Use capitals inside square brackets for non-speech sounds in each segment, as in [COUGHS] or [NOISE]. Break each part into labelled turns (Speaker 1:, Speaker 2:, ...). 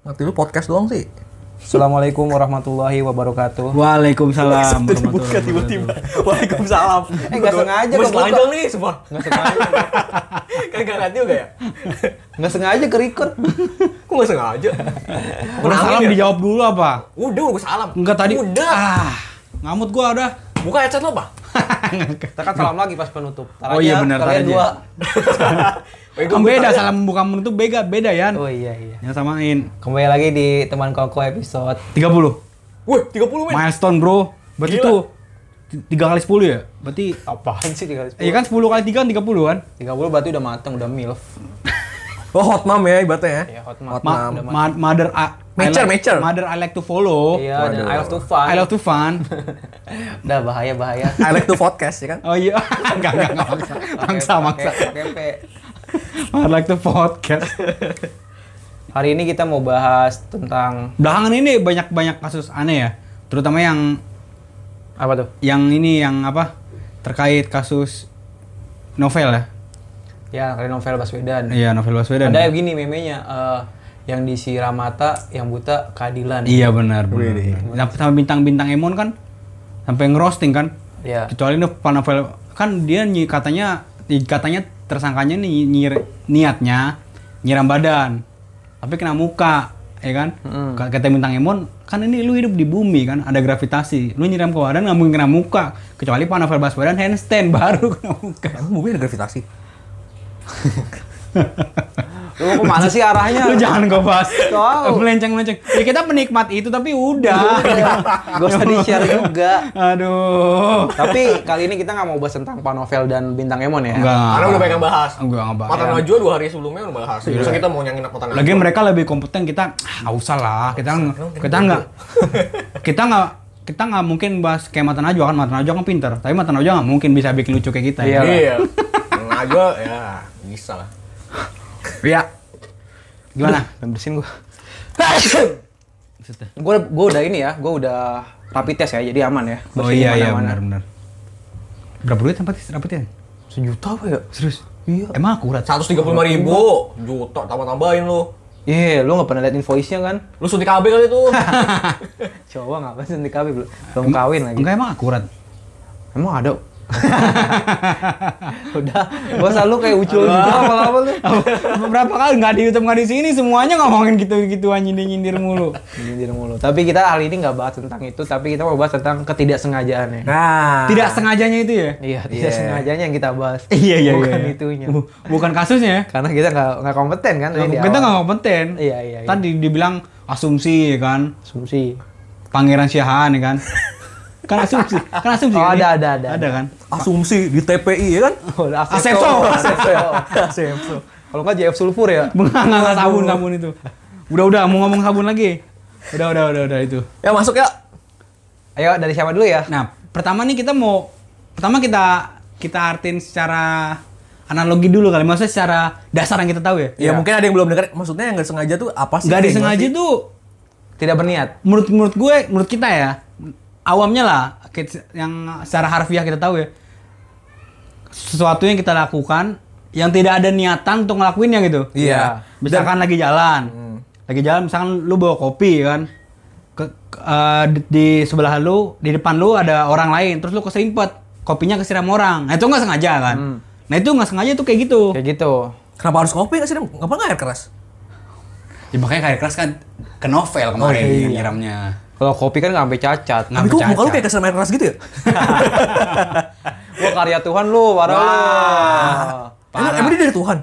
Speaker 1: bakti lu podcast doang sih.
Speaker 2: Assalamualaikum warahmatullahi wabarakatuh.
Speaker 3: Waalaikumsalam.
Speaker 1: Itu dibuka tiba-tiba. Waalaikumsalam.
Speaker 2: Eh, nggak sengaja
Speaker 1: Gue
Speaker 2: kebuka.
Speaker 1: selanjang nih semua.
Speaker 2: Nggak sengaja,
Speaker 1: Kan nggak lihat juga ya?
Speaker 2: nggak sengaja ke record.
Speaker 1: Kok nggak [LAUGHS] sengaja? Kenalin
Speaker 3: Udah salam
Speaker 1: ya?
Speaker 3: dijawab dulu apa?
Speaker 1: Udah, gue salam.
Speaker 3: Enggak tadi.
Speaker 1: Udah.
Speaker 3: Ah, ngamut gua
Speaker 1: [LAUGHS]
Speaker 3: udah.
Speaker 1: Buka headset lo, Pak.
Speaker 2: Kita kan salam lagi pas penutup. Tar
Speaker 3: Oh iya,
Speaker 2: aja,
Speaker 3: benar, tar
Speaker 2: kalian
Speaker 3: aja.
Speaker 2: dua.
Speaker 3: Kan beda salam bukan menutup beda beda ya.
Speaker 2: Oh iya iya.
Speaker 3: Yang samain
Speaker 2: Kembali lagi di teman koko episode
Speaker 3: 30.
Speaker 1: Wih, 30 men.
Speaker 3: Milestone, Bro. Berarti
Speaker 1: Gila.
Speaker 3: itu 3 kali 10 ya? Berarti
Speaker 2: apaan sih tiga
Speaker 3: Iya kan 10 kali 3 kan 30 kan?
Speaker 2: Tiga puluh berarti udah mateng, udah milf.
Speaker 1: Oh, hot mom ya ibaratnya ya.
Speaker 2: Iya, hot mom.
Speaker 1: Hot
Speaker 3: Ma-
Speaker 1: mom.
Speaker 3: ma- mother I,
Speaker 1: Mature,
Speaker 3: I like,
Speaker 1: mature.
Speaker 3: Mother I like to follow.
Speaker 2: Iya, dan
Speaker 1: Waduh.
Speaker 2: I love to fun.
Speaker 3: I love to fun.
Speaker 2: [LAUGHS] Udah bahaya bahaya.
Speaker 1: I like to podcast ya kan.
Speaker 3: Oh iya, [LAUGHS] enggak enggak enggak maksa. Maksa maksa.
Speaker 2: Tempe.
Speaker 3: I like to podcast.
Speaker 2: Hari ini kita mau bahas tentang
Speaker 3: Belakangan ini banyak-banyak kasus aneh ya. Terutama yang
Speaker 2: apa tuh?
Speaker 3: yang ini yang apa? Terkait kasus novel ya.
Speaker 2: Ya, kali novel Baswedan.
Speaker 3: Iya, novel Baswedan.
Speaker 2: Ada gini memenya eh, yang disiram mata, yang buta keadilan.
Speaker 3: Iya benar. benar, benar. Sampai sampai bintang-bintang Emon kan sampai ngerosting kan.
Speaker 2: Iya.
Speaker 3: Kecuali ini novel kan dia nyi, katanya i- katanya tersangkanya nih nyir- niatnya nyiram badan. Tapi kena muka, ya kan?
Speaker 2: Hmm.
Speaker 3: Ka- Kata bintang Emon, kan ini lu hidup di bumi kan, ada gravitasi. Lu nyiram ke badan nggak mungkin kena muka, kecuali Pak Novel Baswedan handstand [LAUGHS] baru kena muka.
Speaker 1: Emang mungkin ada gravitasi.
Speaker 2: Lu kok mana sih arahnya?
Speaker 3: Lu jangan gue bahas.
Speaker 2: Tahu.
Speaker 3: Melenceng-melenceng. Ya kita penikmat itu tapi udah.
Speaker 2: Gak usah di-share juga.
Speaker 3: Aduh.
Speaker 2: Tapi kali ini kita nggak mau bahas tentang Panovel dan Bintang Emon ya.
Speaker 3: Enggak.
Speaker 4: Ah. Karena udah banyak yang bahas.
Speaker 3: Enggak, enggak bahas.
Speaker 4: Mata Najwa dua hari sebelumnya udah bahas.
Speaker 1: Iya.
Speaker 4: Terus kita mau nyangin mata Najwa.
Speaker 3: Lagi mereka lebih kompeten kita, ah nggak usah lah, kita kita nggak kita nggak kita nggak mungkin bahas kayak Mata Najwa kan Mata Najwa kan pinter, tapi Mata Najwa nggak mungkin bisa bikin lucu kayak kita.
Speaker 2: Iya.
Speaker 3: Ya.
Speaker 4: Iya. Najwa ya bisa
Speaker 1: [LAUGHS]
Speaker 4: lah.
Speaker 3: Iya. Gimana?
Speaker 2: Bersin gua. Gua gua udah ini ya, gua udah rapid test ya, jadi aman ya.
Speaker 3: Oh
Speaker 2: Bersihin
Speaker 3: iya iya
Speaker 2: mana-mana.
Speaker 3: benar benar. Berapa duit tempat rapetnya?
Speaker 2: Sejuta apa ya?
Speaker 3: Serius? Iya. Emang akurat?
Speaker 4: 135 ribu juta tambah-tambahin lu.
Speaker 2: Iya, lu nggak pernah liat invoice-nya kan?
Speaker 4: Lu suntik KB kali itu.
Speaker 2: Coba nggak pasti nanti kawin belum belum kawin lagi.
Speaker 3: Enggak emang akurat. [LAUGHS]
Speaker 2: Emang ada? [LAUGHS] udah, gua selalu kayak ucul juga apa-apa lu.
Speaker 3: Berapa kali nggak di YouTube nggak di sini semuanya ngomongin gitu-gituan nyindir-nyindir mulu.
Speaker 2: Nyindir mulu. Tapi kita hari ini nggak bahas tentang itu, tapi kita mau bahas tentang ketidaksengajaan ya.
Speaker 1: [LAUGHS] Nah.
Speaker 3: Tidak sengajanya itu ya?
Speaker 2: Iya, tidak sengajanya yang kita bahas.
Speaker 3: Iya iya
Speaker 2: Bukan
Speaker 3: iya.
Speaker 2: itunya.
Speaker 3: Bu- Bukan kasusnya ya.
Speaker 2: Karena kita nggak nggak kompeten kan tadi di
Speaker 3: kita
Speaker 2: awal.
Speaker 3: nggak kompeten.
Speaker 2: Iya, iya, iya.
Speaker 3: Tadi dibilang asumsi ya kan,
Speaker 2: asumsi.
Speaker 3: Pangeran Siahaan
Speaker 2: [LAUGHS]
Speaker 3: ya kan. kan asumsi, kan asumsi.
Speaker 2: Oh,
Speaker 3: kan,
Speaker 2: ada,
Speaker 3: ya?
Speaker 2: ada, ada.
Speaker 3: Ada kan.
Speaker 1: Asumsi di TPI ya kan?
Speaker 2: Oh, [LAUGHS] udah
Speaker 3: Asepso.
Speaker 2: Asepso. Asepso. Kalau nggak JF sulfur ya.
Speaker 3: Enggak enggak sabun sabun itu. Udah udah mau ngomong sabun lagi. Udah udah udah udah itu.
Speaker 1: Ya masuk ya.
Speaker 2: Ayo dari siapa dulu ya?
Speaker 3: Nah, pertama nih kita mau pertama kita kita artiin secara analogi dulu kali. Maksudnya secara dasar yang kita tahu ya.
Speaker 1: Ya,
Speaker 2: Iya.
Speaker 1: mungkin ada yang belum dengar. Maksudnya yang nggak sengaja tuh apa sih?
Speaker 3: Enggak
Speaker 1: Kayak
Speaker 3: disengaja
Speaker 1: gimana
Speaker 3: tuh
Speaker 2: Tidak berniat.
Speaker 3: menurut menurut gue menurut kita ya awamnya lah kids- yang secara harfiah kita tahu ya sesuatu yang kita lakukan yang tidak ada niatan untuk ngelakuinnya gitu
Speaker 1: Iya.
Speaker 3: misalkan lagi jalan lagi jalan misalkan lu bawa kopi kan Ke- ke- eh, di, di sebelah lu di depan lu ada orang lain terus lu keserimpet kopinya kesiram orang nah itu nggak sengaja kan nah itu nggak sengaja tuh kayak gitu
Speaker 2: Kayak gitu.
Speaker 1: sih? Kenapa harus kopi nggak sih? Kenapa nggak air keras?
Speaker 3: ya, makanya kayak keras kan ke novel kemarin nyiramnya
Speaker 2: Kalau kopi kan nggak sampai cacat.
Speaker 3: Nggak
Speaker 1: Tapi kok
Speaker 3: bercacat.
Speaker 1: muka lu kayak kesan air keras gitu [LAUGHS] ya?
Speaker 2: Wah karya Tuhan lu, parah lu.
Speaker 1: Ah, Emang, emang dia dari Tuhan?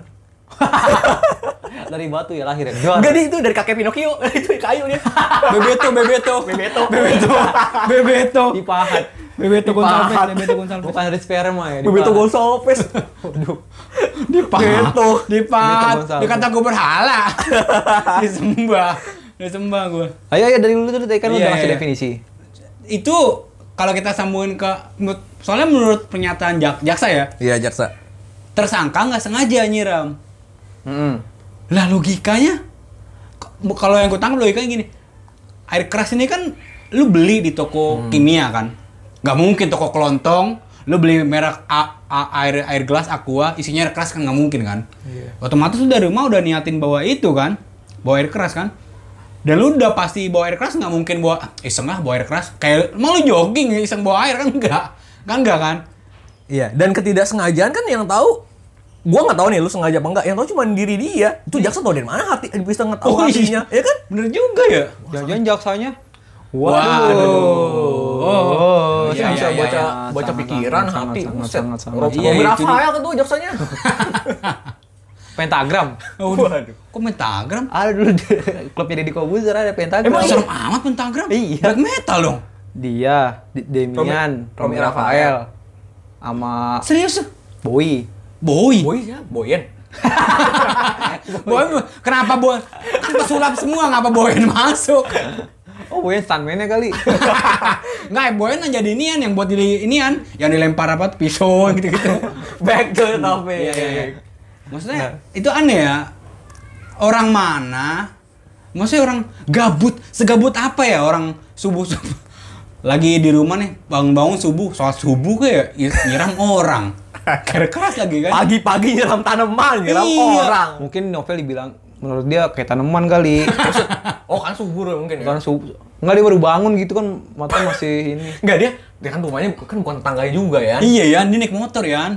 Speaker 2: Dari batu ya lahir ya. Jual.
Speaker 1: Enggak, dia itu dari kakek Pinocchio. [LAUGHS] itu kayu dia.
Speaker 3: Bebeto, Bebeto, Bebeto,
Speaker 1: [LAUGHS]
Speaker 3: Bebeto, [LAUGHS] Bebeto,
Speaker 2: [LAUGHS] Dipahat.
Speaker 3: Bebeto Gonsalves,
Speaker 2: Dipahat.
Speaker 3: Bebeto Gonsalves.
Speaker 2: Bukan dari sperma ya.
Speaker 1: Bebeto [LAUGHS]
Speaker 2: dipahat.
Speaker 1: Gonsalves.
Speaker 3: Dipahat,
Speaker 1: Bebeto.
Speaker 3: Dipahat,
Speaker 2: Bebeto Gonsalves.
Speaker 3: dikata gue
Speaker 2: [LAUGHS]
Speaker 3: berhala, disembah, disembah gue.
Speaker 2: Ayo ayo dari dulu dulu tadi kan lu
Speaker 3: Iya,
Speaker 2: udah ngasih
Speaker 3: iya.
Speaker 2: definisi.
Speaker 3: Itu kalau kita sambungin ke, menurut- soalnya menurut pernyataan jak, jaksa ya,
Speaker 1: Iya, Jaksa.
Speaker 3: tersangka nggak sengaja nyiram.
Speaker 2: Mm-mm.
Speaker 3: Lah logikanya, k- kalau yang gue tangkap logikanya gini, air keras ini kan lu beli di toko kimia kan, nggak mungkin toko kelontong, lu beli merek A- A- air air gelas aqua isinya air keras kan Iya. nggak mungkin kan, otomatis lu dari rumah udah niatin bawa itu kan, bawa air keras kan, Dan lu udah pasti bawa air keras nggak mungkin bawa "Ah, iseng ah bawa air keras. Kayak emang lu jogging iseng bawa air kan enggak. Kan enggak kan?
Speaker 1: Iya, dan ketidaksengajaan kan yang tahu gua nggak tahu nih lu sengaja apa enggak. Yang tahu cuma diri dia. Itu jaksa tahu dari mana hati bisa ngetahu
Speaker 3: Oh, iya.
Speaker 1: hatinya, ya kan?
Speaker 3: Bener juga ya.
Speaker 2: Jangan-jangan jaksanya.
Speaker 3: Oh,
Speaker 4: Iya,
Speaker 3: iya,
Speaker 4: bisa
Speaker 3: iya, iya,
Speaker 4: baca
Speaker 3: iya.
Speaker 2: iya.
Speaker 4: baca
Speaker 2: Sangat,
Speaker 4: pikiran,
Speaker 2: sangat,
Speaker 4: hati,
Speaker 2: sangat,
Speaker 4: buset.
Speaker 2: sangat, sangat.
Speaker 4: Rob-
Speaker 2: Iya,
Speaker 4: Rob
Speaker 2: itu
Speaker 4: Rafael kan tuh jaksanya.
Speaker 2: Pentagram.
Speaker 3: Waduh. Kok pentagram?
Speaker 2: [LAUGHS] Ada dulu klubnya Deddy Kobuzer ada Pentagram.
Speaker 3: Emang serem amat pentagram?
Speaker 2: Iya.
Speaker 3: Black metal dong.
Speaker 2: Dia, D- Demian,
Speaker 4: Romi- Romi
Speaker 2: Romi Rafael, sama
Speaker 3: Serius?
Speaker 2: Bowie.
Speaker 3: Boy.
Speaker 4: Boy ya, Boyen.
Speaker 3: [LAUGHS] Boy, kenapa boy? Kan pesulap semua, ngapa boyin masuk? Ah,
Speaker 2: Oh, Bowie stuntman-nya [LAUGHS] kali.
Speaker 3: Nggak, boyin yang jadi inian, yang buat di inian, yang dilempar apa tuh, pisau gitu-gitu.
Speaker 2: Back to the topic.
Speaker 3: Iya, iya, iya. Maksudnya itu aneh ya. Orang mana? Maksudnya orang gabut, segabut apa ya orang subuh-subuh [LAUGHS] lagi di rumah nih bangun-bangun subuh sholat subuh kayak nyiram orang Kayak keras lagi kan
Speaker 1: Pagi-pagi nyeram tanaman, nyeram
Speaker 3: Iya.
Speaker 1: orang.
Speaker 2: Mungkin novel dibilang menurut dia kayak tanaman kali.
Speaker 4: Oh kan subur ya mungkin ya.
Speaker 2: Karena su Enggak dia baru bangun gitu kan mata masih ini.
Speaker 4: Enggak dia, dia kan rumahnya bu- kan bukan tetangganya juga ya.
Speaker 3: iya ya dia naik motor ya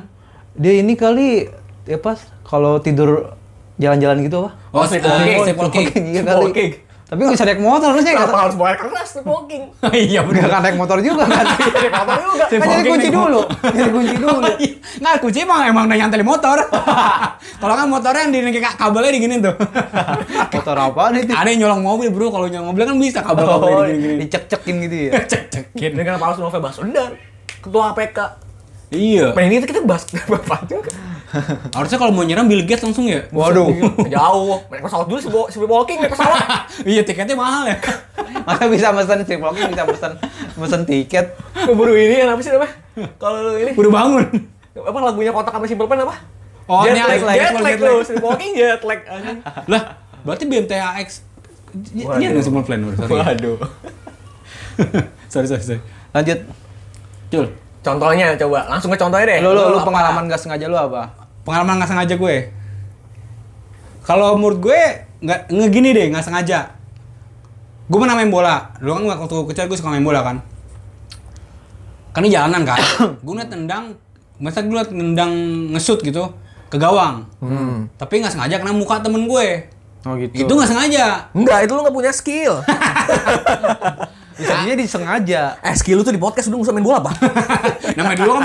Speaker 2: Dia ini kali ya pas kalau tidur jalan-jalan gitu apa?
Speaker 3: oh sleepwalking
Speaker 2: Walking,
Speaker 3: sleepwalking
Speaker 2: iya kali.
Speaker 4: Walking.
Speaker 2: Tapi nggak bisa naik motor harusnya
Speaker 4: Kenapa
Speaker 2: nggak
Speaker 4: harus bawa air keras tuh [LAUGHS] walking?
Speaker 3: iya
Speaker 2: nggak
Speaker 3: bener
Speaker 2: akan naik motor juga kan?
Speaker 4: Kenapa juga?
Speaker 2: Kan nyari
Speaker 3: Walking
Speaker 2: kunci
Speaker 3: naik iya.
Speaker 2: dulu, nyari kunci dulu.
Speaker 3: Nggak, kunci emang emang udah nyantel di motor. [LAUGHS] kalau kan motornya yang di kayak kabelnya diginin [LAUGHS] tuh.
Speaker 2: Motor apa nih?
Speaker 3: Ada yang nyolong mobil bro, kalau nyolong mobil kan bisa kabel-kabelnya
Speaker 2: Oh,
Speaker 3: digini-gini.
Speaker 2: dicek-cekin gitu
Speaker 3: [LAUGHS]
Speaker 2: ya.
Speaker 3: iya. Cek-cekin.
Speaker 4: Ini kenapa harus Novel Baswedan? Ketua APK.
Speaker 3: Iya.
Speaker 4: Main Nah, ini kita bahas [LAUGHS] bapak juga.
Speaker 3: Harusnya kalau mau nyerang Bill Gates langsung ya.
Speaker 2: Waduh.
Speaker 4: Jauh. Naik pesawat dulu sebelum sebelum walking naik pesawat.
Speaker 3: [LAUGHS] iya tiketnya mahal
Speaker 4: [LAUGHS]
Speaker 3: ya.
Speaker 2: Masa bisa mesen sih, vlognya bisa mesen mesen tiket.
Speaker 4: Keburu ini apa sih namanya? Kalau lu ini
Speaker 3: Udah bangun.
Speaker 4: apa lagunya kotak sama simple plan apa?
Speaker 3: Oh, ini
Speaker 4: lag,
Speaker 3: jet lag,
Speaker 4: jet
Speaker 3: jet
Speaker 4: lag
Speaker 3: lag.
Speaker 4: lu, sleep walking jet lag anjing.
Speaker 3: lah, berarti BMTAX ini
Speaker 4: Waduh.
Speaker 3: ada semua plan bro. Sorry.
Speaker 4: Waduh.
Speaker 3: [LAUGHS] sorry, sorry, sorry.
Speaker 2: Lanjut.
Speaker 3: Cul,
Speaker 4: Contohnya coba, langsung ke contohnya deh.
Speaker 1: Eh,
Speaker 2: Lu lu, lu
Speaker 4: apa?
Speaker 2: pengalaman gak sengaja lu apa?
Speaker 3: pengalaman nggak sengaja gue. Kalau menurut gue nggak nggak gini deh, nggak sengaja. Gue pernah main bola. Dulu kan waktu kecil gue suka main bola kan. Karena jalanan
Speaker 4: [COUGHS]
Speaker 3: kan. gue ngeliat nendang, masa gue ngeliat nendang ngesut gitu ke gawang. Tapi nggak sengaja kena muka temen gue.
Speaker 2: Oh
Speaker 3: Itu nggak sengaja.
Speaker 1: Enggak, itu lu nggak punya skill. [LAUGHS]
Speaker 2: Bisa jadi disengaja.
Speaker 1: eh, skill lu tuh di podcast udah usah main bola, Pak.
Speaker 3: [LAUGHS] Namanya dulu kan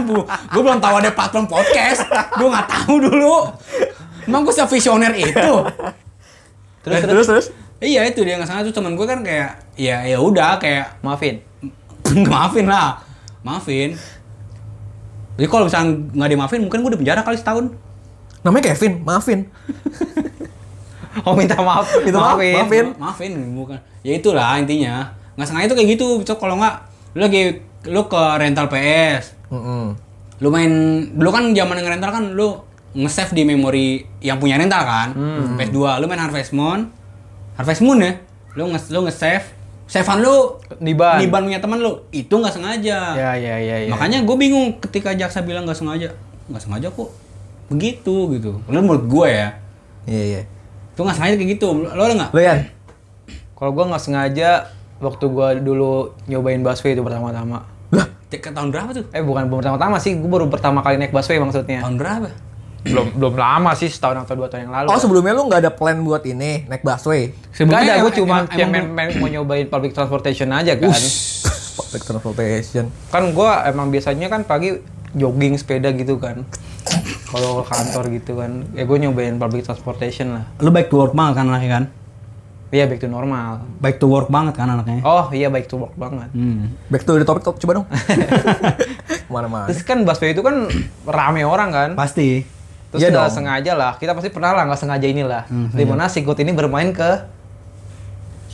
Speaker 3: gue belum tahu ada platform podcast. Gue nggak tahu dulu. Emang gue visioner itu.
Speaker 1: Eh,
Speaker 2: Terus terus,
Speaker 1: terus, terus.
Speaker 3: Iya itu dia nggak sengaja tuh temen gue kan kayak ya ya udah kayak [LAUGHS]
Speaker 2: maafin.
Speaker 3: maafin lah, maafin. Jadi kalau misalnya nggak dimaafin mungkin gue di penjara kali setahun.
Speaker 1: Namanya Kevin, maafin.
Speaker 2: Oh minta maaf,
Speaker 1: Minta maaf, maafin.
Speaker 3: Ma- maafin bukan. Ya itulah intinya. Nggak sengaja tuh kayak gitu. Cok kalau nggak lu lagi lu ke rental PS,
Speaker 1: Mm-mm.
Speaker 3: lu main dulu kan zaman yang rental kan lu nge-save di memori yang punya rental kan PS2 lu main Harvest Moon Harvest Moon ya lu nge lu nge-save savean lu
Speaker 2: Niban.
Speaker 3: di ban punya teman lu itu nggak sengaja
Speaker 2: Ya ya ya ya.
Speaker 3: makanya gue bingung ketika jaksa bilang nggak sengaja nggak sengaja kok begitu gitu lu menurut gue ya
Speaker 1: Iya, iya.
Speaker 3: itu nggak sengaja kayak gitu lo ada nggak
Speaker 1: Lu Yan,
Speaker 2: kalau gua nggak sengaja waktu gua dulu nyobain busway itu pertama-tama.
Speaker 3: Ke tahun berapa tuh
Speaker 2: Eh bukan bukan pertama-tama sih, gua baru pertama kali naik busway maksudnya.
Speaker 3: tahun berapa
Speaker 2: belum belum lama sih, setahun atau dua tahun yang lalu.
Speaker 1: oh sebelumnya lu nggak ada plan buat ini, naik busway.
Speaker 2: Gak ada, gue
Speaker 3: emang-
Speaker 2: cuma
Speaker 3: emang-
Speaker 2: yang
Speaker 3: emang-
Speaker 2: main- main- mau nyobain public transportation aja kan.
Speaker 1: Public transportation.
Speaker 2: Kan gue emang biasanya kan pagi jogging sepeda gitu kan. Kalau ke kantor gitu kan, ya gue nyobain public transportation lah.
Speaker 3: lu baik to work banget kan anaknya kan
Speaker 2: Iya back to normal.
Speaker 3: baik to work banget kan anaknya
Speaker 2: Oh iya baik to work banget.
Speaker 3: hmm.
Speaker 1: Back to the topic, top. coba dong. Mana-mana.
Speaker 2: Terus kan busway itu kan rame orang kan.
Speaker 3: pasti
Speaker 1: Iya
Speaker 2: Terus nggak
Speaker 1: dong.
Speaker 2: sengaja lah, kita pasti pernah lah nggak sengaja inilah. Di mana si Gut ini bermain ke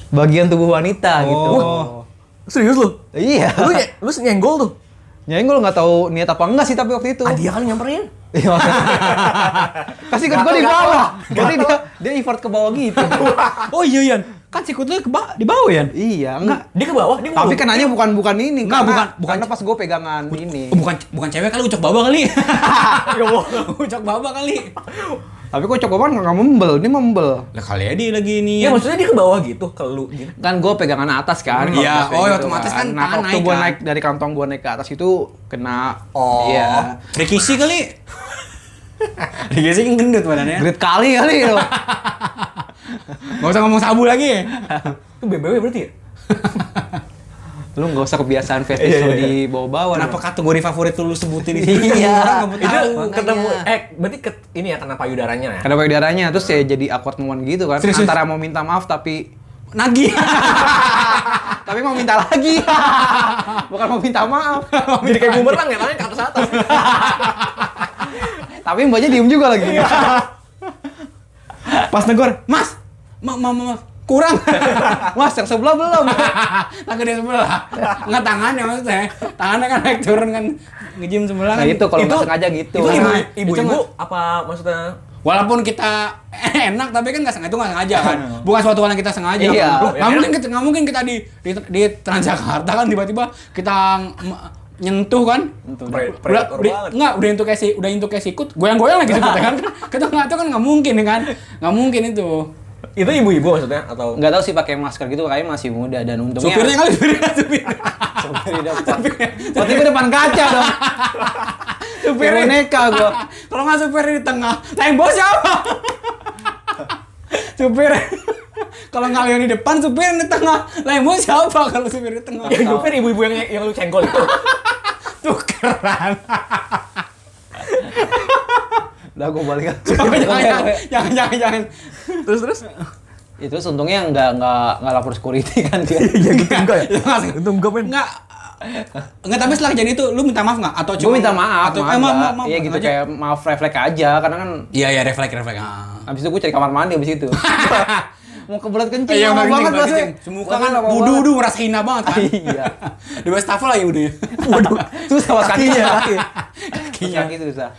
Speaker 2: bagian tubuh wanita gitu.
Speaker 3: Oh.
Speaker 1: Serius lu?
Speaker 2: Iya.
Speaker 1: Lu, ya- ny- lu nyenggol tuh?
Speaker 2: Nyenggol nggak tahu niat apa enggak sih tapi waktu itu.
Speaker 1: Ah, dia kan nyamperin.
Speaker 2: [LAUGHS] Iya. maksudnya. Kasih ikut gue di bawah. Jadi dia dia effort ke bawah gitu.
Speaker 3: Oh iya Yan, kan si Kutlu ke ba- di bawah Yan?
Speaker 2: iya, enggak.
Speaker 4: Dia ke bawah, dia
Speaker 2: Tapi kan-
Speaker 4: ngulur.
Speaker 2: kenanya bukan bukan ini, karena-
Speaker 3: Enggak, bukan- bukan.
Speaker 2: karena pas gue pegangan ini.
Speaker 3: [LAUGHS] Oh, bukan bukan cewek kali ucok baba kali. Ucok baba kali.
Speaker 2: Tapi kok Cokoman nggak membel, dia membel.
Speaker 3: Lah kali aja dia lagi ini.
Speaker 1: Ya maksudnya dia ke bawah gitu, ke lu gitu.
Speaker 2: Kan gue pegangan atas kan. kalau atas
Speaker 3: Iya, oh,
Speaker 2: kayak
Speaker 3: otomatis kan
Speaker 2: Nah,
Speaker 3: tangan
Speaker 2: waktu
Speaker 3: naik
Speaker 2: gue
Speaker 3: kan.
Speaker 2: naik dari kantong gue naik ke atas itu kena.
Speaker 1: Oh.
Speaker 2: Iya.
Speaker 3: Rikisi kali. [LAUGHS] Rikisi kan gendut badannya.
Speaker 2: Grit kali kali
Speaker 3: [LAUGHS]
Speaker 2: lo.
Speaker 3: Gak usah ngomong sabu lagi.
Speaker 1: Itu BBW berarti ya?
Speaker 2: lu nggak usah kebiasaan fetish lo dibawa-bawa.
Speaker 3: Iya, Oh, Kenapa kategori favorit lu sebutin di sini? [LAUGHS]
Speaker 2: Iya.
Speaker 3: Orang nggak
Speaker 1: Itu
Speaker 3: tahu.
Speaker 1: ketemu eh berarti ke, ini ya kena payudaranya ya.
Speaker 2: Karena baik darahnya, terus ya jadi awkward moment gitu kan.
Speaker 3: Serius,
Speaker 2: Antara mau minta maaf tapi
Speaker 3: Nagih.
Speaker 2: tapi mau minta lagi. Bukan mau minta maaf.
Speaker 1: Jadi kayak bumerang ya, tangannya ke atas [LAUGHS] atas.
Speaker 2: tapi mbaknya diem juga lagi.
Speaker 3: [LAUGHS] Iya. Pas negor, Mas, ma ma ma ma- [LAUGHS] kurang.
Speaker 2: [LAUGHS] Mas yang sebelah belum.
Speaker 3: Lagi di sebelah. Nggak tangannya maksudnya. Tangannya kan naik turun kan nge-gym sebelah.
Speaker 2: Nah
Speaker 3: kan.
Speaker 2: itu kalau nggak
Speaker 1: Itu-
Speaker 2: sengaja gitu.
Speaker 1: Itu ibu
Speaker 3: Nah,
Speaker 1: ibu,
Speaker 3: itu
Speaker 1: ibu
Speaker 3: mah-
Speaker 1: apa maksudnya
Speaker 3: Walaupun kita [LAUGHS] enak tapi kan nggak sengaja itu nggak sengaja kan. Bukan suatu hal yang kita sengaja.
Speaker 2: Iya.
Speaker 3: Kan.
Speaker 1: Ya,
Speaker 3: Loh, Nggak mungkin kita nggak mungkin kita di di, di Transjakarta kan tiba-tiba kita mm, nyentuh kan.
Speaker 1: Pre-
Speaker 3: Udah,
Speaker 1: predator
Speaker 3: udah,
Speaker 1: banget.
Speaker 3: nggak udah untuk kasih udah untuk kasih ikut goyang-goyang lagi sebutnya
Speaker 1: [LAUGHS]
Speaker 3: kan. Kita nggak tahu kan nggak mungkin kan. Nggak mungkin itu.
Speaker 1: Itu ibu-ibu maksudnya atau
Speaker 2: nggak tahu sih pakai masker gitu kayaknya masih muda dan untungnya
Speaker 3: Supirnya kali supirnya [LAUGHS] supir.
Speaker 2: supir di
Speaker 1: [LAUGHS]
Speaker 2: depan berarti gue Oh, depan kaca dong supir
Speaker 3: [LAUGHS] Supirnya-
Speaker 2: boneka gue
Speaker 3: Kalau nggak supir di tengah, nah yang bawah
Speaker 2: [LAUGHS]
Speaker 3: siapa? supir. Kalau kalian di depan, supir yang di tengah. Lah yang bawah siapa kalau supir di tengah?
Speaker 2: Eh,
Speaker 1: yang nyupir Ya, ibu-ibu yang yang lu cengkol [LAUGHS] itu.
Speaker 3: tukeran.
Speaker 2: udah gue balik
Speaker 3: jangan, jangan, jangan, jangan, jangan.
Speaker 1: terus terus [LAUGHS]
Speaker 2: itu terus untungnya nggak nggak nggak lapor security [LAUGHS] kan dia
Speaker 1: ya gitu enggak ya? Itu enggak men.
Speaker 3: Enggak. Enggak, tapi setelah kejadian itu lu minta maaf enggak atau
Speaker 2: gue minta maaf
Speaker 3: atau
Speaker 2: maaf,
Speaker 3: eh, maaf,
Speaker 2: Mbak.
Speaker 3: maaf, maaf,
Speaker 2: Iya gitu
Speaker 3: aja.
Speaker 2: kayak maaf refleks aja karena kan
Speaker 3: Iya, iya, refleks, refleks. Ah.
Speaker 2: abis itu gue cari kamar mandi abis itu [LAUGHS] mau kebelet kencing
Speaker 3: Iya,
Speaker 2: lama
Speaker 3: udah kencing,
Speaker 2: banget
Speaker 3: udah
Speaker 2: pasti
Speaker 3: kencing. Semuka
Speaker 2: Lama
Speaker 3: kan
Speaker 2: banget.
Speaker 3: budu-budu merasa hina banget kan.
Speaker 2: Iya.
Speaker 3: [LAUGHS] Di bawah ya, stafel lagi udahnya.
Speaker 2: Waduh, [LAUGHS] susah banget kakinya. [LAUGHS]
Speaker 3: Kakinya.
Speaker 2: Kaki itu susah.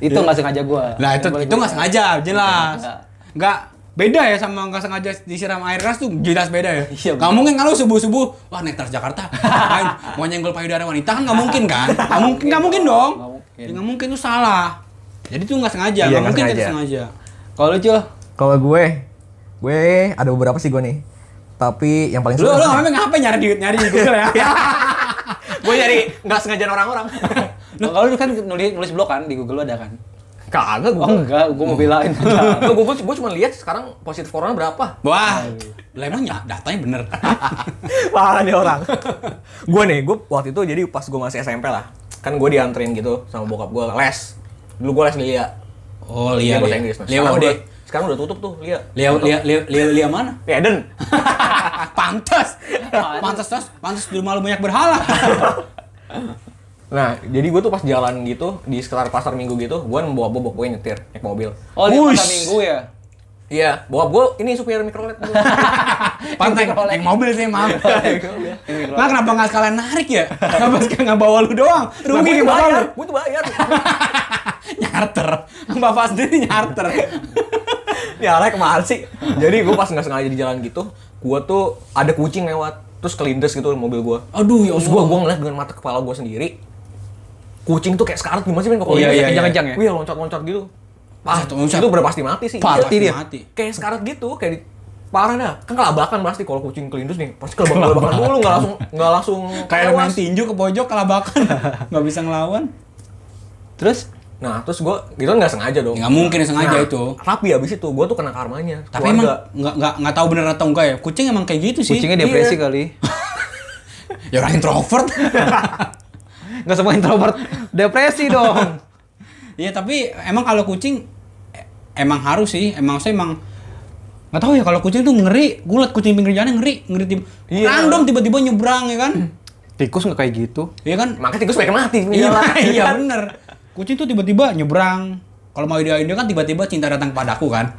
Speaker 2: Itu nggak sengaja gua.
Speaker 3: Lah itu
Speaker 2: Yang boleh
Speaker 3: itu
Speaker 2: gua
Speaker 3: nggak
Speaker 2: bilang.
Speaker 3: sengaja, jelas.
Speaker 2: Nggak.
Speaker 3: Nggak beda ya sama nggak sengaja disiram air keras tuh jelas beda ya.
Speaker 2: Iya,
Speaker 3: nggak
Speaker 2: bener.
Speaker 3: mungkin kalau subuh subuh wah naik Transjakarta ngapain? mau nyenggol payudara wanita kan nggak mungkin
Speaker 2: [LAUGHS]
Speaker 3: kan? Nggak mungkin nggak mungkin dong.
Speaker 2: Nggak mungkin.
Speaker 3: Ya, Nggak mungkin tuh salah. Jadi tuh nggak sengaja,
Speaker 1: Iya,
Speaker 3: nggak
Speaker 1: nggak
Speaker 3: mungkin kita
Speaker 1: sengaja.
Speaker 3: sengaja.
Speaker 2: Kalau lu cuy,
Speaker 1: Kalau gue gue ada beberapa sih gue nih. Tapi yang paling
Speaker 3: Lu lu
Speaker 1: [LAUGHS]
Speaker 3: ngapain ngapain nyari duit nyari di Google ya?
Speaker 1: Iya. gue nyari nggak sengaja orang-orang.
Speaker 2: kalau lu kan nulis nulis blog kan di Google lu ada kan?
Speaker 1: [LAUGHS] Kagak
Speaker 2: Oh
Speaker 1: gue.
Speaker 2: enggak, gua mau [LAUGHS] belain.
Speaker 1: Gue gue gue cuma lihat sekarang positif corona berapa.
Speaker 3: [LAUGHS] Wah, lah emang ya datanya bener.
Speaker 1: [LAUGHS] Parah nih orang. [LAUGHS] gue nih, gue waktu itu jadi pas gue masih SMP lah. Kan gue dianterin gitu sama bokap gue les. Dulu gue les Lia.
Speaker 3: Oh, Lia.
Speaker 1: bahasa
Speaker 3: Lia,
Speaker 1: Inggris. Nah,
Speaker 3: Lia,
Speaker 1: sekarang,
Speaker 3: Waude.
Speaker 1: udah, sekarang udah tutup tuh Lia.
Speaker 3: Lia, Lia, Lia, Lia, Lia mana? [LAUGHS]
Speaker 1: Ya Eden.
Speaker 3: Pantes. Pantes, Tos. pantes di rumah lu banyak berhala.
Speaker 1: Nah, jadi gue tuh pas jalan gitu di sekitar pasar minggu gitu, gue bawa bobok gue nyetir naik mobil.
Speaker 2: Oh, di
Speaker 3: Wush.
Speaker 2: pasar minggu ya.
Speaker 1: Iya, bokap gue ini supir [LAUGHS] mikrolet dulu.
Speaker 3: Pantai naik mobil sih maaf. Lah kenapa nggak sekalian narik ya? Kenapa sekalian nggak bawa lu doang?
Speaker 1: Nah,
Speaker 3: Rugi
Speaker 1: gua
Speaker 3: yang bawa lu.
Speaker 1: bayar, gue tuh bayar.
Speaker 3: Nyarter. Bapak sendiri nyarter.
Speaker 1: ya lah kemana sih? Jadi gue pas nggak sengaja di jalan gitu, gue tuh ada kucing lewat, terus kelindes gitu mobil gue.
Speaker 3: Aduh ya
Speaker 1: Terus
Speaker 3: Allah.
Speaker 1: gue gue ngeliat dengan mata kepala gue sendiri, kucing tuh kayak sekarat gimana sih men kalau
Speaker 2: Iya,
Speaker 1: dia
Speaker 2: iya,
Speaker 1: kencang-kencang
Speaker 2: iya.
Speaker 1: Wih, loncat-loncat gitu. Pas,
Speaker 3: Loncat, loncat.
Speaker 1: itu udah pasti mati sih.
Speaker 3: Parah
Speaker 1: Iya.
Speaker 3: dia.
Speaker 1: mati. Kayak sekarat gitu, kayak di- parah dah. Kan kelabakan pasti kalau kucing kelindus nih, pasti kelabakan dulu nggak langsung nggak langsung
Speaker 3: Kayak
Speaker 1: tewas.
Speaker 3: main tinju ke pojok kelabakan. Nggak bisa ngelawan.
Speaker 2: Terus
Speaker 1: Nah, terus gue gitu kan nggak sengaja dong.
Speaker 3: Ya, nggak mungkin
Speaker 1: Nah,
Speaker 3: sengaja itu.
Speaker 1: Tapi abis itu gue tuh kena karmanya.
Speaker 3: Tapi emang nggak nggak nggak tahu bener atau enggak ya. Kucing emang kayak gitu sih.
Speaker 2: kucingnya
Speaker 1: iya.
Speaker 2: depresi kali.
Speaker 3: Ya orang introvert. [LAUGHS]
Speaker 2: Enggak semua introvert depresi dong.
Speaker 3: Iya tapi emang kalau kucing e- emang harus sih. Emang saya emang nggak tahu ya kalau kucing tuh ngeri. Gue liat kucing pinggir jalan ngeri, ngeri tiba
Speaker 1: Iya.
Speaker 3: random tiba-tiba nyebrang ya kan.
Speaker 2: Tikus nggak kayak gitu.
Speaker 3: Iya kan?
Speaker 1: makanya tikus pengen mati. di
Speaker 3: Iya,
Speaker 1: jalan.
Speaker 3: iya [LAUGHS] bener. Kucing tuh tiba-tiba nyebrang. Kalau mau dia kan tiba-tiba cinta datang padaku kan.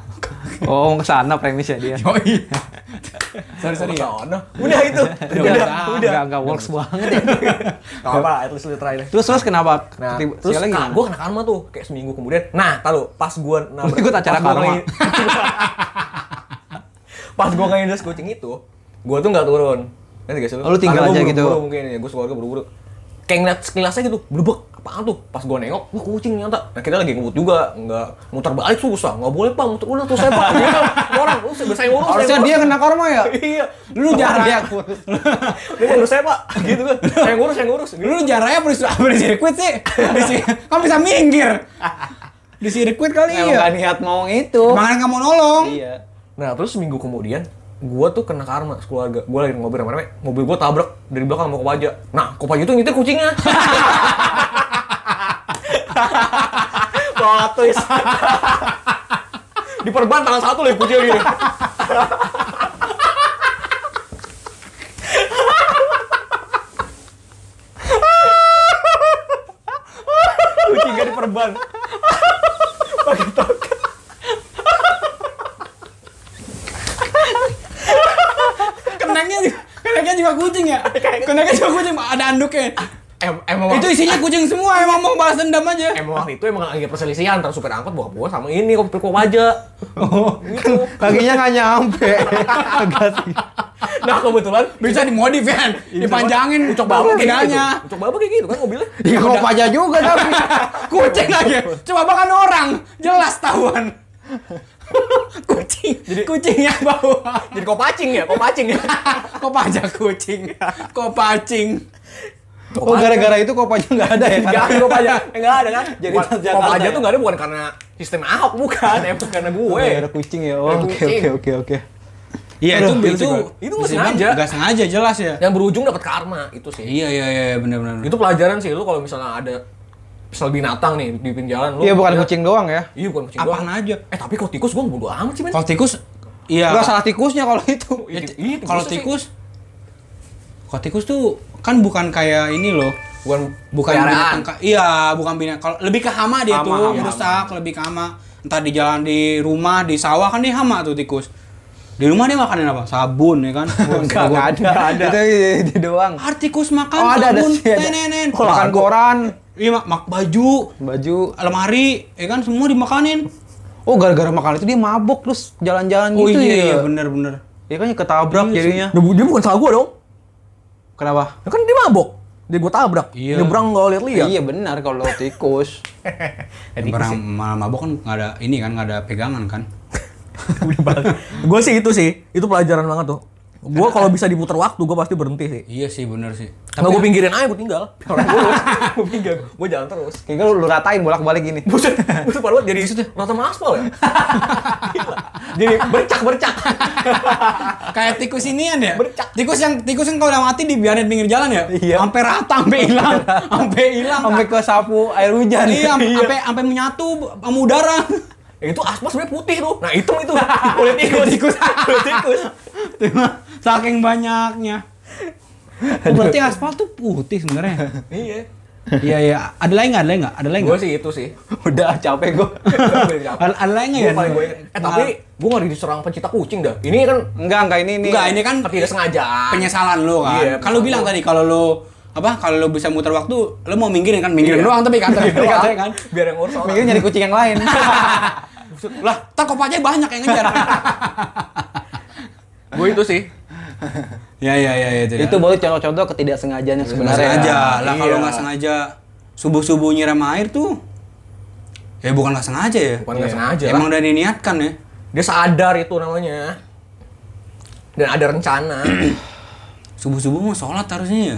Speaker 2: Oh, mau ke sana premisnya
Speaker 3: [LAUGHS]
Speaker 2: dia.
Speaker 3: Yoi. sorry sorry
Speaker 1: [LAUGHS]
Speaker 3: ya.
Speaker 1: Sono. Udah itu.
Speaker 3: Udah,
Speaker 1: Ya Udah,
Speaker 3: udah.
Speaker 1: udah.
Speaker 2: Enggak enggak works banget ya.
Speaker 1: Gak apa-apa, at least lu try deh.
Speaker 2: Terus terus kenapa?
Speaker 1: Nah,
Speaker 2: Tiba-
Speaker 1: terus
Speaker 2: sekali lagi
Speaker 1: nah,
Speaker 2: gimana?
Speaker 1: gue kena karma tuh kayak seminggu kemudian. Nah, tahu pas gue
Speaker 2: [LAUGHS]
Speaker 1: nabrak
Speaker 2: Lu ikut acara
Speaker 1: pas gua
Speaker 2: karma.
Speaker 1: ngein- [LAUGHS] pas gue ngelindas kucing itu, gue tuh nggak turun. Nanti guys,
Speaker 2: Oh, lu tinggal aja gitu.
Speaker 1: mungkin ya, gue keluarga buru-buru. kayak ngeliat sekilasnya gitu blubek apaan tuh pas gua nengok wah kucing nyata nah kita lagi ngebut juga nggak muter balik susah nggak boleh pak muter udah tuh saya pak Dia bilang, orang lu saya saya ngurus saya
Speaker 2: Harusnya
Speaker 1: ngurus."
Speaker 2: dia kena karma ya?
Speaker 1: [LAUGHS] iya
Speaker 3: Lu jarang.
Speaker 2: Dia
Speaker 3: ya?
Speaker 2: aku.
Speaker 1: [LAUGHS] lu ngurus saya pak [LAUGHS] gitu kan saya ngurus saya
Speaker 2: [LAUGHS]
Speaker 1: ngurus gitu.
Speaker 3: Lu ya jaraknya apa di, apa di sirkuit sih? Di si- Kamu bisa minggir. Di sirkuit kali
Speaker 2: Emang
Speaker 3: ya.
Speaker 2: gak niat mau itu.
Speaker 3: Makanya kamu nolong.
Speaker 2: Iya.
Speaker 1: Nah terus seminggu kemudian gua tuh kena karma sekeluarga. Gua lagi ngobrol sama Rame, mobil gua tabrak dari belakang sama kopaja. Nah kopaja tuh ngitir kucingnya. [LAUGHS] Plot twist. Diperban tangan satu lagi kucing gini. kucing gak diperban.
Speaker 3: Kenanya juga, kenanya juga kucing [LAUGHS] ya. Kenanya juga kucing, ada anduknya.
Speaker 1: Em, emang
Speaker 3: Itu isinya kucing semua, emang mau balas dendam aja.
Speaker 1: emang waktu itu emang lagi perselisihan antara supir angkot bokap gua sama ini kopi kopaja.
Speaker 2: [LAUGHS] Oh,
Speaker 1: Gitu.
Speaker 2: kan kakinya nggak nyampe. Agak sih. kan-
Speaker 1: Nah kebetulan
Speaker 3: Bisa dimodif kan, dipanjangin.
Speaker 1: Ucok babak kayak gitu.
Speaker 3: Bedanya.
Speaker 1: Ucok babak kayak gitu kan mobilnya.
Speaker 3: Iya,
Speaker 2: Di aja juga tapi.
Speaker 3: [LAUGHS] Kucing lagi. Coba makan orang. Jelas tahuan. [LAUGHS] kucing. kucing yang bawa.
Speaker 1: Jadi kopacing ya, kopacing
Speaker 2: [LAUGHS]
Speaker 1: ya.
Speaker 3: Kok pajak kucing? Kok pacing?
Speaker 2: Oh, gara-gara itu kopanya nggak ada ya?
Speaker 1: Iya, Enggak,
Speaker 2: [LAUGHS]
Speaker 1: ada kopajak. Enggak ada kan? Jadi
Speaker 2: Bukan-
Speaker 1: kopajak
Speaker 2: ya?
Speaker 1: tuh enggak ada bukan karena sistem Ahok bukan, emang karena gue.
Speaker 2: Gara-gara kucing ya. Oh,
Speaker 1: Gara
Speaker 2: Oke,
Speaker 1: kucing.
Speaker 2: oke, oke, oke.
Speaker 3: Iya itu
Speaker 2: Aduh,
Speaker 3: itu
Speaker 1: itu nggak
Speaker 3: bisa dibilang
Speaker 1: sengaja.
Speaker 3: nggak sengaja jelas ya.
Speaker 1: Yang berujung dapat karma itu sih.
Speaker 3: Iya iya iya benar-benar.
Speaker 1: Itu pelajaran sih lu kalau misalnya ada misal binatang nih di pinggir jalan lu.
Speaker 2: Iya, bukan
Speaker 1: ya-
Speaker 2: kucing doang ya.
Speaker 1: Iya bukan kucing.
Speaker 3: Apaan
Speaker 1: doang.
Speaker 3: aja?
Speaker 1: Eh tapi kalau tikus gua bodo amat sih men.
Speaker 3: Kalau tikus iya.
Speaker 2: Enggak salah tikusnya kalau itu. gitu.
Speaker 1: Iya,
Speaker 3: Ya,
Speaker 1: ti- iya, tikus
Speaker 3: kalau
Speaker 1: sih.
Speaker 3: tikus kalau tikus tuh kan bukan kayak ini loh.
Speaker 1: bukan
Speaker 3: Bukan
Speaker 1: peliharaan.
Speaker 3: binatang ka- iya, bukan binatang. Kalau lebih ke hama
Speaker 1: Hama,
Speaker 3: dia tuh,
Speaker 1: hama,
Speaker 3: merusak, lebih ke hama. Entah di jalan di rumah, di sawah kan dia hama tuh tikus. Di rumah dia makanin apa? Sabun
Speaker 2: [LAUGHS]
Speaker 3: ya kan?
Speaker 2: Enggak, enggak ada. Itu itu doang.
Speaker 3: Artikus makan
Speaker 2: Oh, ada ada
Speaker 3: sabun,
Speaker 2: sih. ada.
Speaker 3: tenenen.
Speaker 2: Makan koran,
Speaker 3: Iya, mak, mak baju,
Speaker 2: baju.
Speaker 3: lemari, ya kan semua dimakanin.
Speaker 2: Oh, gara-gara makan itu dia mabuk terus jalan-jalan
Speaker 3: Oh
Speaker 2: gitu
Speaker 3: iya,
Speaker 2: ya.
Speaker 3: iya bener-bener.
Speaker 2: Dia kan ketabrak
Speaker 1: Iya,
Speaker 2: jadinya.
Speaker 1: Dia bukan salah gua dong.
Speaker 2: Kenapa?
Speaker 1: Ya kan dia mabok. Dia gua tabrak.
Speaker 3: Iya.
Speaker 1: Nyebrang enggak lihat-lihat. [LAUGHS]
Speaker 2: Iya benar kalau tikus.
Speaker 3: Barang malam mabok kan nggak ada ini kan nggak ada pegangan kan.
Speaker 1: gue sih itu sih itu pelajaran banget tuh gue kalau bisa diputar waktu gue pasti berhenti sih
Speaker 3: Iya sih bener sih.
Speaker 1: nggak gue pinggirin aja gue tinggal orang gue [LAUGHS] gue pinggir gue jalan terus
Speaker 2: Kayak lu, lu ratain bolak-balik gini.
Speaker 1: buset buset parah banget jadi rata sama aspal ya [LAUGHS] Gila. jadi bercak bercak
Speaker 3: Kayak tikus ini kan ya.
Speaker 1: Bercak.
Speaker 3: Tikus yang tikus yang kalau udah mati dibiarin pinggir jalan ya.
Speaker 2: Iya.
Speaker 3: Sampai rata, sampai hilang, sampai hilang.
Speaker 2: Sampai ke sapu air hujan.
Speaker 3: Iya, sampai sampai menyatu sama udara. [LAUGHS]
Speaker 1: Ya, itu aspal sebenarnya putih tuh nah hitam itu kulit tikus tikus kulit tikus
Speaker 3: Saking banyaknya. Oh, berarti aspal tuh putih sebenarnya.
Speaker 1: iya
Speaker 3: Iya iya, ada lain nggak? Ada lain nggak? Ada lain
Speaker 1: gue
Speaker 3: nggak?
Speaker 1: sih itu sih [LAUGHS]
Speaker 2: Udah capek
Speaker 3: [LAUGHS]
Speaker 2: gua.
Speaker 3: Ada, ada lain nggak ya?
Speaker 1: Gua paling gua ingat. eh tapi gue nggak diserang pencipta kucing dah ini kan
Speaker 2: Enggak, enggak ini ini.
Speaker 3: Enggak, ini kan
Speaker 1: tidak sengaja
Speaker 3: penyesalan lo kan.
Speaker 1: Iya, penyesalan
Speaker 3: kalau bilang
Speaker 1: lo.
Speaker 3: tadi kalau lo apa kalau lo bisa muter waktu lo mau minggirin kan minggirin
Speaker 1: Iya.
Speaker 3: doang tapi kan
Speaker 1: [LAUGHS]
Speaker 3: tapi katanya kan
Speaker 1: biar yang ngurus orang
Speaker 2: Mikir nyari kucing yang lain.
Speaker 3: lah tak aja banyak yang [LAUGHS] ngejar
Speaker 1: gue itu sih
Speaker 3: ya ya ya itu
Speaker 2: itu baru contoh-contoh ketidaksengajaan yang
Speaker 3: nggak
Speaker 2: sebenarnya.
Speaker 3: sengaja lah kalau
Speaker 1: ya. Iya.
Speaker 3: nggak sengaja subuh subuh nyiram air tuh ya bukan nggak sengaja ya
Speaker 1: Bukan nggak
Speaker 3: Iya.
Speaker 1: sengaja
Speaker 3: emang udah diniatkan ya
Speaker 1: dia sadar itu namanya dan ada
Speaker 3: [CLEARS THROAT]
Speaker 1: rencana
Speaker 3: subuh subuh mau sholat
Speaker 1: [LAUGHS]
Speaker 3: harusnya ya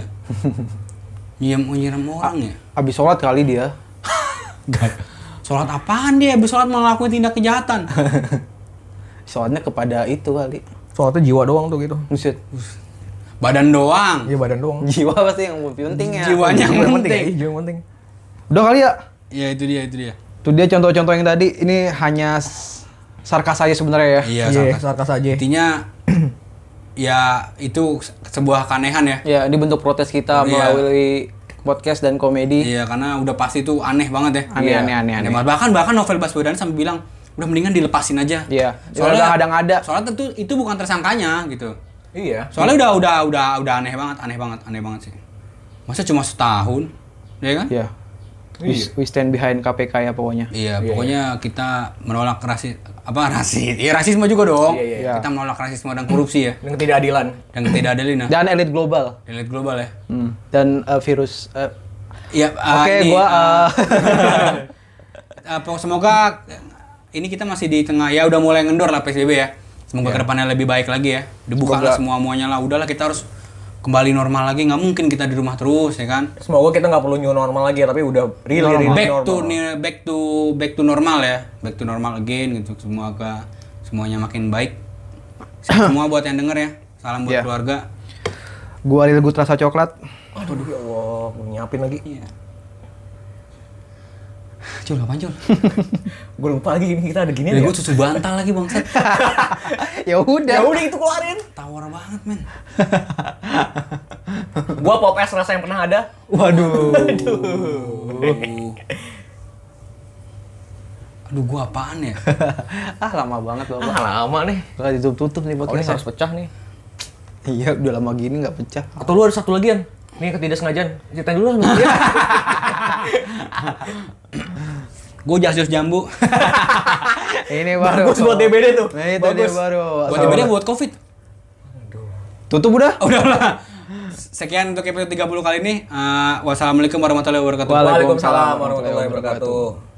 Speaker 3: nyiram nyiram orang ya
Speaker 2: Habis sholat kali dia.
Speaker 3: Nggak. sholat apaan dia abis sholat malah lakuin
Speaker 1: [LAUGHS]
Speaker 3: tindak kejahatan
Speaker 2: Sholatnya kepada itu kali.
Speaker 1: soalnya jiwa doang tuh gitu
Speaker 2: Buset.
Speaker 3: badan doang
Speaker 1: iya badan doang
Speaker 2: [LAUGHS] Jiwa pasti yang penting ya.
Speaker 3: jiwanya
Speaker 1: Jiwa
Speaker 3: yang
Speaker 1: yang
Speaker 3: penting
Speaker 1: iya, jiwa yang penting
Speaker 2: Udah kali ya.
Speaker 3: ya itu dia itu dia
Speaker 2: Tuh dia contoh-contoh yang tadi ini hanya s- sarkas saya sebenarnya ya.
Speaker 3: Iya,
Speaker 1: iya
Speaker 3: sarkas.
Speaker 1: sarkas aja
Speaker 3: Intinya [CLEARS THROAT] ya itu se- sebuah keanehan ya.
Speaker 2: Ya, ini bentuk protes kita
Speaker 3: Iya.
Speaker 2: melalui podcast dan komedi.
Speaker 3: Iya, karena udah pasti itu aneh banget ya.
Speaker 2: Aneh,
Speaker 3: Iya.
Speaker 2: aneh, aneh, aneh.
Speaker 3: banget. Bahkan bahkan novel Baswedan sampai bilang udah mendingan dilepasin aja.
Speaker 2: Iya, udah nggak ada- nggak ada.
Speaker 3: Soalnya itu itu bukan tersangkanya gitu.
Speaker 1: iya
Speaker 3: Soalnya udah udah udah udah aneh banget, aneh banget, aneh banget sih. Masa cuma setahun, ya kan?
Speaker 2: Iya. We, we stand behind KPK ya pokoknya.
Speaker 3: Iya, pokoknya kita menolak rasis apa rasis? Iya rasisme juga dong.
Speaker 1: Iya,
Speaker 2: iya.
Speaker 3: Kita menolak rasisme dan korupsi ya
Speaker 1: Dengan ketidakadilan.
Speaker 3: dan ketidakadilan. Nah,
Speaker 2: Dan elit global.
Speaker 3: elit global ya.
Speaker 2: Hmm. Dan eh, virus. eh,
Speaker 3: Iya, ah,
Speaker 2: Oke,
Speaker 3: ini,
Speaker 2: gua.
Speaker 3: ah,
Speaker 2: eh,
Speaker 3: [LAUGHS] ah, pokok- semoga ini kita masih di tengah ya udah mulai ngendor lah PSBB ya. Semoga kedepannya lebih baik lagi ya. Dibuka lah semua muanya lah. Udahlah kita harus kembali normal lagi. Nggak mungkin kita di rumah terus ya kan.
Speaker 1: Semoga kita nggak perlu new normal lagi, tapi udah really, really
Speaker 3: back
Speaker 1: Iya, normal.
Speaker 3: to ni- back to back to normal ya back to normal again gitu semua ke semuanya makin baik semua buat yang denger ya salam buat
Speaker 2: Iya.
Speaker 3: keluarga
Speaker 2: gua Lil Gut rasa coklat.
Speaker 1: Aduh, ya Allah, gua nyiapin lagi. [LAUGHS]
Speaker 3: iya Jul, apaan Jul?
Speaker 1: Gue lupa lagi ini kita ada gini
Speaker 3: Dari
Speaker 1: ya.
Speaker 3: gue susu bantal lagi bangsat.
Speaker 2: [LAUGHS]
Speaker 1: Ya
Speaker 2: ya udah.
Speaker 1: udah itu keluarin.
Speaker 3: Tawar banget men.
Speaker 1: [LAUGHS] Gua pop es rasa yang pernah ada.
Speaker 3: Aduh. Aduh gue apaan ya?
Speaker 2: ah lama banget bapak.
Speaker 1: Ah, lama nih.
Speaker 2: Gak ditutup-tutup nih
Speaker 1: Oh, ini
Speaker 2: podcastnya.
Speaker 1: harus pecah nih.
Speaker 2: Iya udah lama gini nggak pecah.
Speaker 1: Atau lu ada satu lagian? Nih ketidaksengajaan. Ceritain dulu [LAUGHS] lah. Iya.
Speaker 3: Gue jas-jas jambu.
Speaker 2: Ini baru.
Speaker 1: Bagus buat DBD tuh.
Speaker 2: Nah, itu dia
Speaker 1: Bagus.
Speaker 2: baru.
Speaker 3: Buat DBD buat covid. [LAUGHS]
Speaker 2: Tutup udah.
Speaker 3: Oh, udah lah. Sekian untuk episode 30 kali ini. Eh, wassalamualaikum warahmatullahi wabarakatuh.
Speaker 2: Waalaikumsalam
Speaker 1: Waalaikumsalam warahmatullahi wabarakatuh.